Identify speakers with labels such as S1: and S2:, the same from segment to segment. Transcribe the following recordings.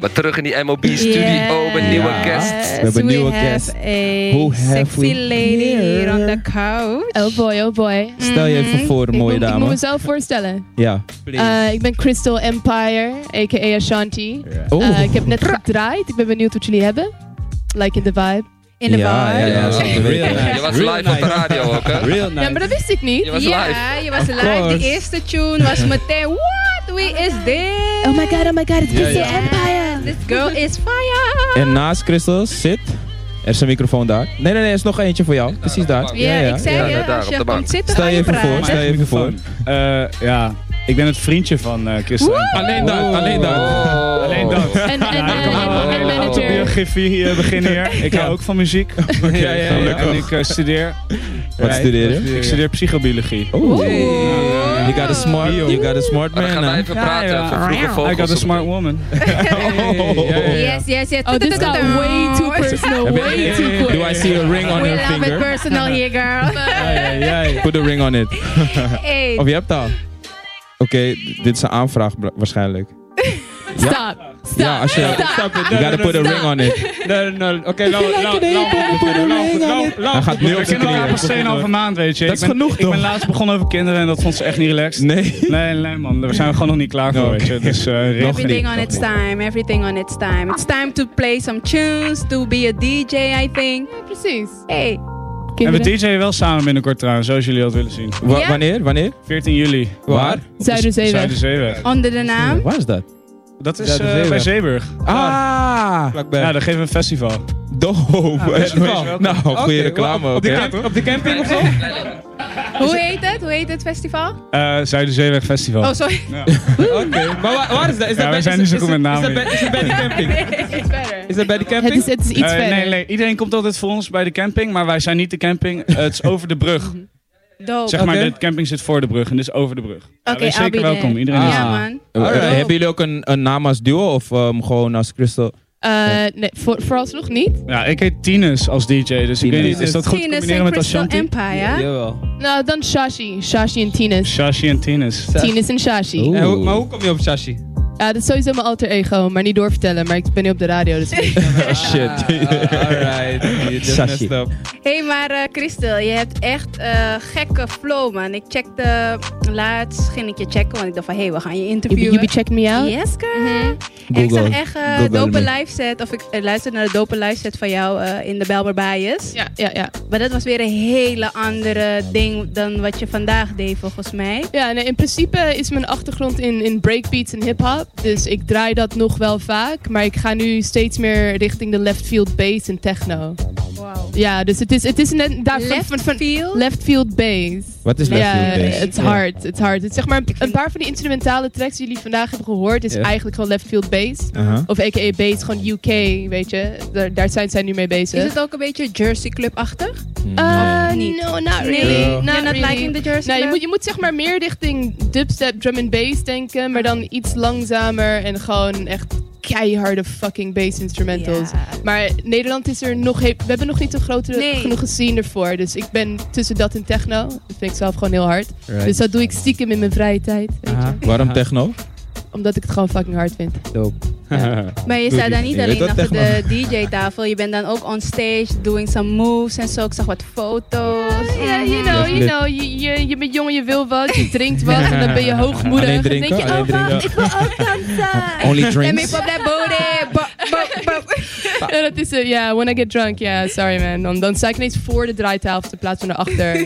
S1: Maar terug in die MOB studio oh, met nieuwe
S2: Ja.
S1: guest.
S2: We hebben een nieuwe guest. Who
S3: Who
S2: have
S3: sexy
S2: we
S3: lady
S2: here?
S3: here on the couch.
S4: Oh boy, oh boy.
S2: Stel je even voor,
S4: Ik
S2: mooie
S4: moet, ik moet
S2: dame.
S4: mezelf voorstellen.
S2: Ja.
S4: Eh, ik ben Crystal Empire, a.k.a. Ashanti.
S2: Oh.
S4: Eh, ik heb net gedraaid. Ik ben benieuwd wat jullie hebben. Like in the vibe.
S3: In de
S2: ja,
S3: bar.
S2: Ja, ja,
S1: Ja,
S2: zeker
S1: real
S2: weten.
S1: nice. Je was
S2: Real
S1: live op de
S2: nice.
S1: radio ook, hè?
S2: Real
S4: Ja, maar
S2: nice.
S4: dat wist ik niet.
S1: Je was
S3: ja,
S1: live.
S3: je was live.
S2: course.
S3: De eerste tune was meteen. What? Wie is dit?
S4: Oh my god, oh my god, it's
S2: Ja,
S4: Crystal
S2: ja.
S4: Empire.
S3: This girl is fire.
S2: En naast Christel zit... Er is een microfoon daar. Nee, nee, nee, er is nog eentje voor jou. Precies daar.
S3: Ja, ik zei
S1: Ja,
S3: je,
S1: daar,
S3: als
S1: op
S3: je
S1: de bank.
S3: komt zitten,
S2: Stel
S3: ga
S2: je even
S3: praten.
S2: voor, stel je even voor.
S5: Eh, ja, ik ben het vriendje van eh Christel.
S2: Alleen dat, alleen dat.
S1: Oh.
S5: Alleen dat.
S4: En, en, en, en, en
S5: Auto
S4: manager.
S5: biografie hier beginnen hier. Ik
S2: Ja.
S5: hou ook van muziek.
S2: Ja, ja, ja.
S5: En ik eh, studeer.
S2: Wat studeer je?
S5: Ik studeer psychobiologie.
S2: Oeh.
S3: Oeh.
S2: You got a smart, you got a smart
S1: Maar dan gaan
S2: man.
S1: wij
S2: hè?
S1: even
S5: Ja,
S1: praten
S5: ja.
S1: voor vroege
S2: Oh.
S1: vogels.
S5: I got a smart woman.
S3: Yes, yes, yes.
S4: Oh, dit got way too personal. Way too quick.
S2: eh, Do I see a ring on
S3: We
S2: her
S3: love it
S2: finger?
S3: personal here, girl.
S2: Ja, ja, ja. Put a ring on it.
S3: Hey,
S2: Of je hebt al. Oké, d- dit is een aanvraag bla- waarschijnlijk.
S4: Stop. Stop.
S2: Ja, als je... You gotta put a ring on it.
S5: Nee, nee, Oké, okay, nou, nou, nou, nou, nou, nou, nou.
S2: Hij gaat nu op
S5: Ik
S2: zijn
S5: ken elkaar pas
S2: knieën.
S5: 2,5 maand, weet je.
S2: Dat
S5: Ik
S2: is
S5: ben-
S2: genoeg,
S5: Ik
S2: toch?
S5: ben laatst begonnen over kinderen en dat vond ze echt niet relaxed.
S2: Nee.
S5: Nee, nee man, daar zijn we gewoon nog niet klaar voor,
S2: Oké.
S5: weet je. Dus eh regel
S2: Nog
S3: everything
S2: niet,
S3: on
S2: nog
S3: its
S2: niet.
S3: time. Everything on its time. It's time to play some tunes, to be a DJ, I think.
S4: Precies.
S3: Hey,
S5: En we
S4: Kinderen.
S5: DJ'en wel samen binnenkort trouwens, zoals jullie dat willen zien.
S2: Wa-
S3: Ja.
S2: Wanneer? Wanneer?
S5: 14 juli. Dus
S2: Waar?
S4: Zuiderzeeweg.
S2: dus-
S5: Zuiderzeeweg.
S3: onder de naam.
S2: Waar is dat?
S5: Dat is
S2: Zuiderzeeweg.
S5: eh, bij Zeeburg.
S2: Ah!
S5: Ja, daar geven we een festival.
S2: Nou, Dope.
S5: best wel.
S2: Nou, nou, goede reclame ook. hè?
S5: op de camping of zo?
S3: Hoe heet het? Hoe heet het festival?
S5: Eh Zuiderzeeweg
S2: dus-
S5: Festival.
S3: Oh, sorry.
S2: Maar waar, waar is dat? Is
S5: Ja,
S2: dat
S5: wij
S2: bij-
S5: zijn
S2: is-
S5: niet zo
S2: is-
S5: goed met namen
S2: Is dat bij- is dat bij die camping? Is dat bij die
S4: Het
S2: camping?
S4: is, het is iets
S5: Eh,
S4: verder.
S5: nee, nee, iedereen komt altijd voor ons bij de camping, maar wij zijn niet de camping. Eh, het is over de brug.
S3: Dope.
S5: Zeg maar,
S2: Oké.
S5: de camping zit voor de brug en dit is over de brug. Ja,
S3: Oh, Oké,
S5: wees
S3: I'll be
S5: zeker
S3: there.
S5: welkom. Iedereen is
S3: Ja,
S2: Ah.
S3: man.
S2: Eh,
S5: Alright.
S2: Hebben jullie ook een, een naam als duo of ehm, gewoon als Crystal?
S4: Eh, nee, voor, vooralsnog niet.
S5: Ja, ik heet Tinus als DJ, dus ik weet niet, is dat goed te
S3: Venus
S5: combineren
S3: en
S5: met
S3: Crystal
S5: Ashanti?
S3: Empire.
S2: Jawel.
S4: Nou, dan Shashi. Shashi en Tinus.
S5: Shashi en Tinus.
S4: Tinus en Shashi.
S2: Oeh.
S6: En Eh, hoe- maar hoe kom je op Shashi?
S4: Ja, Eh, dat is sowieso mijn alter ego, maar niet doorvertellen. Maar ik ben nu op de radio, dus...
S2: Ah, Shit.
S6: Ah, alright. You just
S2: Shashi.
S6: messed up.
S3: Hé, hey, maar eh, Christel, je hebt echt eh, gekke flow, man. Ik checkte laatst, ging ik je checken, want ik dacht van, hé, hey, we gaan je Mhm.
S4: you, be,
S3: interviewen.
S4: you be checking me out?
S3: Yes, girl. En ik
S2: Google.
S3: zag echt eh,
S2: Google
S3: dope
S2: me.
S3: live set, of ik eh, luisterde naar de dope live set van jou eh, in de Belmer Bias.
S4: Ja, ja, ja.
S3: Maar dat was weer een hele andere ding dan wat je vandaag deed, volgens mij.
S4: Ja, nee, in principe is mijn achtergrond in, in breakbeats en hip-hop. Dus ik draai dat nog wel vaak. Maar ik ga nu steeds meer richting de left field bass en techno.
S3: Wow.
S4: Ja, dus het is, het is net daar van- van,
S3: Left
S4: van-
S3: field.
S4: left field bass.
S2: Wat is Left
S4: Ja,
S6: eh,
S2: Field Days?
S4: het is hard. Het is hard. Het is zeg maar een paar van die instrumentale tracks die jullie vandaag hebben gehoord, is
S2: Ja.
S4: eigenlijk gewoon left field bass.
S2: Aha.
S4: Of a.k.a. bass, gewoon UK, weet je. Daar, daar zijn zij nu mee bezig.
S3: Is het ook een beetje Jersey Club-achtig?
S2: Mm.
S6: Ah.
S4: Uh,
S3: niet?
S4: No, not
S3: Nee.
S4: really.
S3: Ja.
S4: Not
S3: You're not
S4: really.
S3: liking the Jersey
S4: Nee, je
S3: Club?
S4: moet, je moet zeg maar meer richting dubstep, drum and bass denken. Maar dan iets langzamer en gewoon echt keiharde fucking bass instrumentals.
S3: Ja.
S4: Maar Nederland is er nog... he- We hebben nog niet een grote
S3: Nee.
S4: genoeg gezien ervoor. Dus ik ben tussen dat en techno. Dat vind ik zelf gewoon heel hard. Dus dat doe ik stiekem in mijn vrije tijd. weet je.
S2: Waarom techno?
S4: Omdat ik het gewoon fucking hard vind.
S3: Maar je
S2: Doe
S3: staat
S2: die-
S3: daar niet
S2: je
S3: alleen
S2: weet dat
S3: achter de DJ-tafel. Je bent dan ook on stage, doing some moves en zo. Ik zag wat foto's.
S4: Ja, you
S2: Dat
S4: know,
S2: is
S4: you
S2: lit.
S4: know, je, je, je bent jong en je wil wat, je drinkt wat en dan ben je hoogmoedig.
S2: Alleen
S4: en
S2: drinken,
S4: denk je,
S2: alleen
S4: oh wacht,
S2: drinken.
S4: ik wil ook dansen.
S2: Only
S3: Let me
S2: drinks?
S3: pop that booty. Bop, bop, bop.
S4: Ja, dat is het. Ja, when I get drunk, ja, sorry man. Dan, dan sta ik ineens voor de draaitafel in plaats van erachter.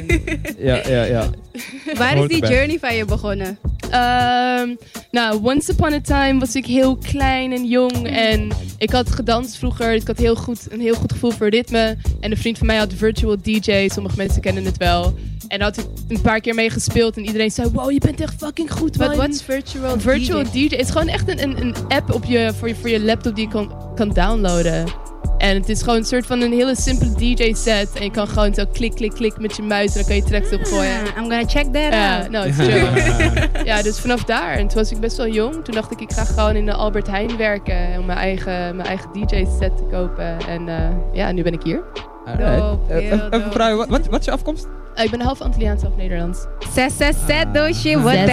S2: Ja, ja, ja.
S3: Waar is
S2: Hoort
S3: die
S2: erbij.
S3: journey van je begonnen?
S4: Ehm nou, once upon a time was ik heel klein en jong en ik had gedanst vroeger. Ik had heel goed, een heel goed gevoel voor ritme. En een vriend van mij had virtual DJ, sommige mensen kennen het wel. En daar had ik een paar keer mee gespeeld en iedereen zei, wow, je bent echt fucking goed man.
S3: Wat is virtual
S4: Virtual
S3: DJ?
S4: DJ. Het is gewoon echt een, een, een app op je, voor, je, voor je laptop die je kan, kan downloaden. En het is gewoon een soort van een hele simpele DJ-set. En je kan gewoon zo klik, klik, klik met je muis en dan kan je tracks opgooien.
S3: Ah, I'm gonna check that
S4: Ja,
S3: out.
S4: nou, het is chill. Ja, dus vanaf daar. En toen was ik best wel jong. Toen dacht ik, ik ga gewoon in de Albert Heijn werken. Om mijn eigen, mijn eigen DJ-set te kopen. En eh, ja, nu ben ik hier.
S6: Alright.
S3: Dope,
S6: Eh,
S3: heel
S6: eh,
S3: dope.
S6: Even vragen, wat, wat, wat is je afkomst?
S4: Eh, ik ben half Antilliaans, half Nederlands.
S3: Zes, zes, zes, doosje, wat
S7: Zes,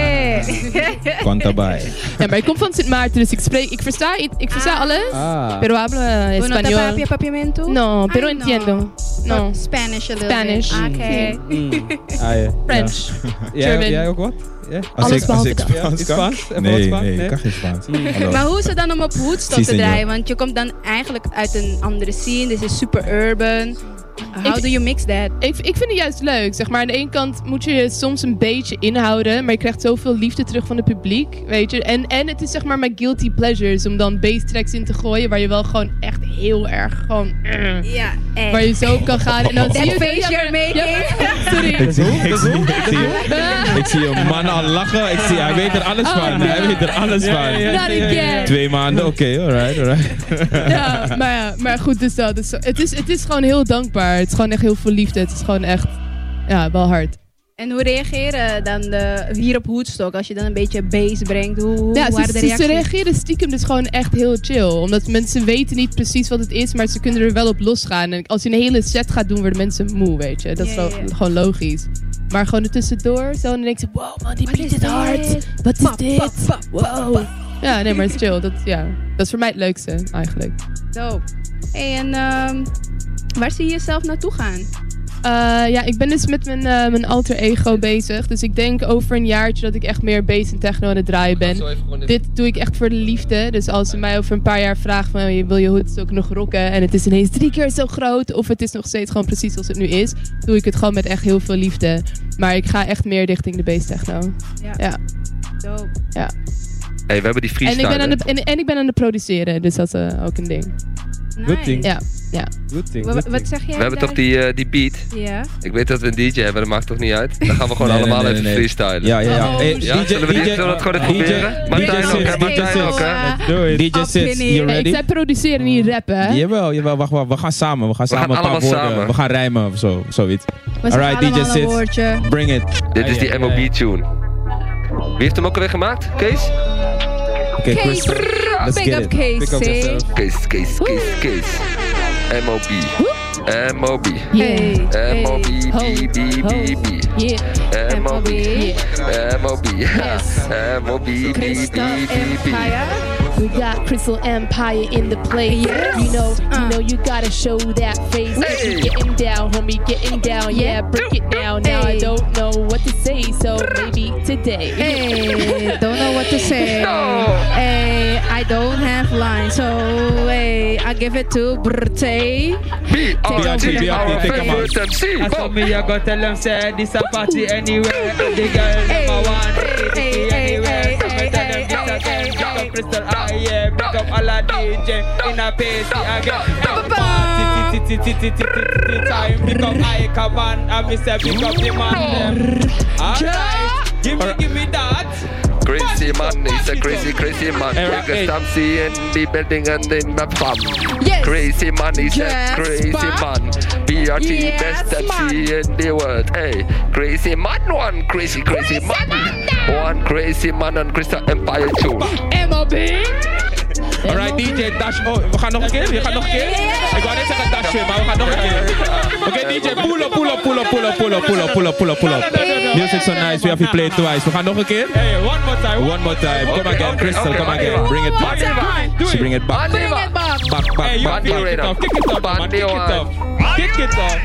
S3: deze.
S2: Quantabay.
S4: Ja, maar ik kom van Sint Maarten, dus ik spreek, ik versta, iets- ik versta
S3: Ah.
S4: alles.
S6: Ah.
S4: Pero hablo eh,
S3: Bueno, te
S4: español.
S3: papia, papiamento?
S4: No, pero
S3: I know.
S4: entiendo. No,
S3: Spanish a little
S4: Spanish. Mm.
S3: bit. Okay.
S6: Ah, ja.
S4: French.
S6: Ja. Jij,
S4: German.
S6: jij ook wat? Ja.
S2: Als
S4: Alles
S2: ik, als
S4: behalve
S2: ik
S4: dat.
S2: Spaans
S6: Iets
S2: kan?
S6: Spaans? Even wat
S2: Nee,
S6: Spaans?
S2: nee,
S6: Nee?
S2: ik kan geen Spaans. Hallo.
S3: Maar hoe is het dan om op hoedstop
S2: Si,
S3: te
S2: senor.
S3: draaien? Want je komt dan eigenlijk uit een andere scene. Dit is super urban. How
S4: Ik-
S3: do you mix that?
S4: Ik, ik vind het juist leuk. Zeg maar, aan de ene kant moet je je soms een beetje inhouden. Maar je krijgt zoveel liefde terug van het publiek. Weet je? En, en het is zeg maar mijn guilty pleasures. Om dan bass tracks in te gooien. Waar je wel gewoon echt heel erg gewoon. eh,
S3: Ja,
S4: waar je zo op kan gaan. En dan zie
S3: That
S4: je.
S3: face you're making.
S4: Sorry.
S2: Ik zie, ik zie, ik zie,
S4: Ah,
S2: ik zie een man al lachen. Ik zie, hij weet er alles
S4: Oh,
S2: van.
S4: ja.
S2: Hij weet er alles van.
S4: Not again.
S2: Twee maanden, oké, alright, alright.
S4: Ja, maar, ja, maar goed, dus dat. Dus het, is, het is gewoon heel dankbaar. Het is gewoon echt heel veel liefde. Het is gewoon echt. Ja, wel hard.
S3: En hoe reageren dan de, hier op hoedstok? Als je dan een beetje bass brengt, hoe, hoe
S4: Ja,
S3: waren
S4: ze,
S3: de
S4: ze, ze
S3: reacties?
S4: reageren stiekem dus gewoon echt heel chill. Omdat mensen weten niet precies wat het is, maar ze kunnen er wel op losgaan. En als je een hele set gaat doen, worden mensen moe, weet je. Dat is
S3: Ja,
S4: wel
S3: ja, ja.
S4: gewoon logisch. Maar gewoon er tussendoor, zo, en dan denk je, wow man, die
S3: Wat
S4: beat
S3: is
S4: het hard.
S3: dit?
S4: Wat is
S3: Pap,
S4: dit?
S3: pap, pap, pap,
S4: Wow.
S3: pap.
S4: Ja, nee, maar het is chill. Dat, ja. dat is voor mij het leukste, eigenlijk.
S3: Dope. Hey, en ehm, waar zie je jezelf naartoe gaan?
S4: Eh, ja, ik ben dus met mijn, eh, mijn alter ego bezig. Dus ik denk over een jaartje dat ik echt meer bass en techno aan het draaien ben. Dit doe ik echt voor de liefde. Dus als ze mij over een paar jaar vragen van "Oh, wil je hoedstok nog rocken en het is ineens drie keer zo groot of het is nog steeds gewoon precies zoals het nu is, doe ik het gewoon met echt heel veel liefde. Maar ik ga echt meer richting de bass techno. Ja.
S3: Dope.
S1: Hey, we hebben die
S4: En ik,
S1: freestyle.
S4: ben aan
S1: hè?
S4: de, en, en ik ben aan het produceren, dus dat is eh, ook een ding.
S6: Good thing.
S3: Nice.
S4: Ja, ja.
S6: Good thing.
S3: Wa-
S6: good
S3: Wat,
S6: thing.
S3: zeg jij
S1: We hebben
S3: daar?
S1: toch die, eh, die beat?
S3: Ja.
S1: Ik weet dat we een DJ hebben, dat maakt toch niet uit? Dan gaan we gewoon
S2: Nee, nee,
S1: allemaal
S2: nee,
S1: even
S2: nee.
S1: freestylen.
S2: Ja, ja, ja. Eh,
S4: Oh,
S2: Hey,
S4: shit.
S1: Ja, zullen we dit- zullen we dat gewoon even
S2: DJ
S1: proberen?
S2: DJ
S1: Martijn ook, hè?
S2: Sits, DJ
S1: Martijn ook,
S2: Sits.
S1: hè?
S3: Ah,
S6: Do it.
S2: DJ Sits,
S3: Afknippen.
S2: you
S4: Nee, ik
S2: ready?
S4: zei produceren, niet rappen. Hè?
S2: Jawel, jawel, wacht, wacht. We gaan samen, we gaan
S1: gaan
S2: samen een paar
S1: allemaal
S2: woorden.
S1: samen.
S2: We gaan rijmen of zo, zoiets.
S3: we zeggen
S2: Alright, DJ
S3: allemaal een
S2: Sits.
S3: woordje.
S2: Bring it.
S1: Dit is
S6: Ja,
S1: die
S6: ja, ja, ja.
S1: MOB-tune. Wie heeft hem ook alweer gemaakt? Kees?
S2: Oké,
S3: Kees,
S2: Chris. let's
S3: pick
S2: get
S3: up
S2: it.
S3: Kees.
S6: Pick up
S3: hey.
S6: yourself.
S1: Kees, Kees, Kees, Kees. MOB. MOB.
S4: Yeah.
S3: Hey, hey.
S1: MOB, B, B, B, B.
S4: Yeah.
S1: MOB. MOB. MOB, B, B,
S4: Christa
S1: B, B.
S4: We got Crystal Empire in the place. You know,
S3: Uh.
S4: you know, you gotta show that face.
S1: Hey.
S4: Getting down, homie, getting down. Yeah, break it down. Now I
S3: Hey.
S4: don't know what to say, so maybe today.
S3: Hey, don't know what to say. Hey, I don't have lines, so hey, I give it to
S1: B,
S3: Brte.
S1: R,
S2: BRT,
S1: T, our
S2: take 'em out.
S1: favorite MC.
S6: I
S1: Wow.
S6: told me I got tell them say this a party anywhere. The girl
S3: Hey,
S6: number one,
S3: hey,
S6: the
S3: hey,
S6: DJ anywhere.
S3: hey,
S6: So me
S3: hey,
S6: tell them
S3: hey,
S6: this a
S3: hey,
S6: thing. Pick
S3: hey.
S6: up crystal eye, yeah. Pick up all the DJ in a pasty again. Hey, party, ti- ti- ti- ti- ti- ti- ti- time. Pick up I come on, and me say pick up the man them. Alright, give me, give me that.
S1: Crazy man is a crazy, crazy man.
S6: Era
S1: Because
S6: eight.
S1: I'm seeing the building and in my farm.
S3: Yes.
S1: Crazy man is
S3: Yes,
S1: a crazy
S3: pa.
S1: man. BRT
S3: Yes,
S1: best MC
S3: man.
S1: in the world. Hey, crazy man, one crazy, crazy, man. One crazy man on Crystal Empire tune.
S2: Alright, DJ, dash. Oh, we gaan nog een keer? Je gaat nog een keer? Ik wou net zeggen dash weer, maar we gaan nog een keer. Oké, DJ, pull up, pull up, pull up, pull up, pull up, pull up, pull up, pull up, pull up. Music so nice, we have to play it twice. We gaan nog een keer?
S6: Hey, one more time.
S2: One more time. Come
S1: Okay,
S2: again,
S1: okay,
S2: Crystal,
S1: okay,
S2: come
S1: okay.
S2: again. Bring it
S6: One
S2: back.
S6: time. Do
S2: She bring
S6: it.
S2: it back. Back,
S6: Hey,
S2: back,
S6: you
S2: back,
S6: kick
S2: back.
S6: it off. Kick it off, man. Kick it off. Kick it off.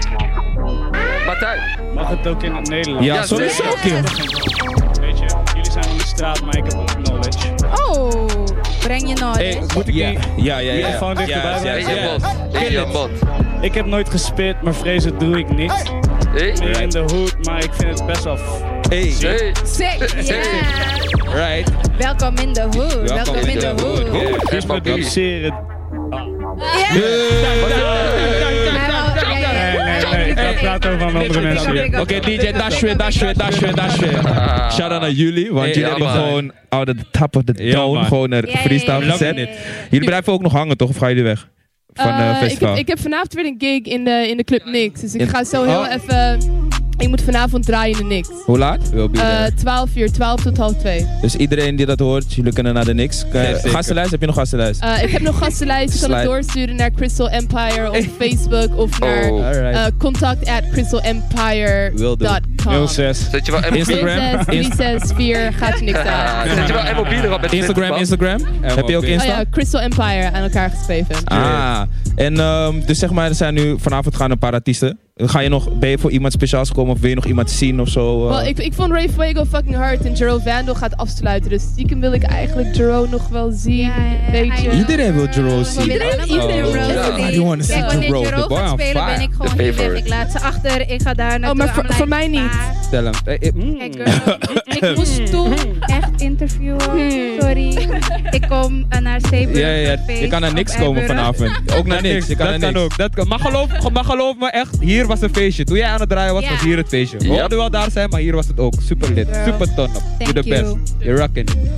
S1: Martijn,
S5: Mag het ook in het Nederlands?
S2: Ja, sowieso.
S1: zeker.
S2: Kim.
S5: Weet je, jullie zijn van de straat, maar ik heb ook knowledge.
S3: Oh, breng je nou.
S5: Hey, moet ik
S2: Ja,
S5: niet-
S2: ja, ja. ja.
S5: Microfoon dichterbij,
S2: Ja,
S5: man.
S1: in
S2: ja,
S1: je
S2: ja.
S1: mond, in je mond.
S5: Ik heb nooit gespit, maar vrezen doe ik niet.
S1: Hey,
S5: Meer in de hoed, maar ik vind het best wel... f-
S2: Hey,
S1: hey.
S3: Sick, ja.
S2: right.
S3: Welkom in de hood. Welkom in de hood.
S1: Goed,
S5: Dus
S1: MOB.
S5: met produceren... Nee, nee, nee,
S3: Hey.
S5: ik praat over aan andere mensen. hier.
S2: Oké, DJ, dash weer, dash weer, dash weer, dash weer. Shout out naar jullie, want
S1: Ja,
S2: jullie hebben
S1: man.
S2: gewoon out of the top of the
S6: Ja,
S2: down
S6: man.
S2: gewoon een
S3: Ja, ja,
S2: freestyle
S3: ja, ja,
S2: gezet.
S3: ja, ja.
S2: Jullie blijven ook nog hangen, toch? Of gaan jullie weg? Van eh
S4: Eh, ik,
S2: festival.
S4: heb, ik heb vanavond weer een gig in de, in de Club Nix. Dus ik
S2: In-
S4: ga zo heel
S2: Oh.
S4: even. Ik moet vanavond draaien in de niks.
S2: Hoe laat?
S8: We'll be
S4: Eh,
S8: there.
S4: 12 uur, 12 tot half 2.
S2: Dus iedereen die dat hoort, jullie kunnen naar de niks. Kan-
S8: Ja, zeker.
S2: gastenlijst, heb je nog gastenlijst?
S4: Eh, ik heb nog gastenlijst. Je kan het
S2: Slide.
S4: doorsturen naar Crystal Empire op Facebook of naar
S1: Oh.
S2: Alright.
S4: eh, contact at
S2: Wil doen.
S4: crystalempire.com.
S9: 06.
S1: Zet je wel MOB?
S2: Insta- Instagram.
S4: 364 gaat je niks
S1: Ah,
S4: aan.
S1: Zet je wel MOB erop met
S2: Instagram,
S1: 20 man?
S2: Instagram. Heb je ook
S4: Oh
S2: Insta?
S4: ja, Crystal Empire aan elkaar geschreven.
S2: Ah, en ehm, dus zeg maar, er zijn nu vanavond gaan een paar artiesten. Ga je nog, ben je voor iemand speciaals gekomen of wil je nog iemand zien of zo? eh?
S4: Wel, ik, ik vond Ray Fuego fucking hard en Jero Vandal gaat afsluiten. Dus stiekem wil ik eigenlijk Jero nog wel zien. weet je.
S2: Iedereen wil Jero
S3: Jerome
S2: zien.
S4: Iedereen-
S3: iedereen
S2: iedereen
S3: wil
S2: wil
S3: Jerome
S2: zien.
S3: zien.
S2: I don't wanna see
S3: Kijk, wanneer
S2: Jerome,
S3: Jerome
S2: the boy
S3: gaat
S2: on
S3: spelen, ben
S2: fire.
S3: ik gewoon
S1: The
S3: hier weg.
S1: favorite.
S3: Ik laat ze achter, ik ga daar naartoe.
S4: Oh, maar voor-
S3: I'm
S4: voor mij
S3: like,
S4: niet.
S3: maar-
S5: Stel hem. Eh,
S2: hm?
S5: eh, mm.
S3: Kijk, girl,
S2: Hmm.
S3: ik moest toen echt interviewen.
S4: Hmm.
S3: Sorry. Ik kom eh, naar Zeeburg.
S2: Ja, ja, ja. Je kan naar niks komen vanavond. Ook naar niks. Je kan
S5: dat
S2: naar
S5: kan
S2: niks.
S5: ook. Dat kan. Maar, geloof, maar geloof me echt, hier was een feestje. Toen jij aan het draaien was,
S3: Ja.
S5: was hier het feestje. We
S1: Ja.
S5: wilden wel daar zijn, maar hier was het ook. Super lit.
S3: Girl.
S5: Super ton up. Doe
S3: Thank
S5: de best.
S3: you.
S5: You're rocking it.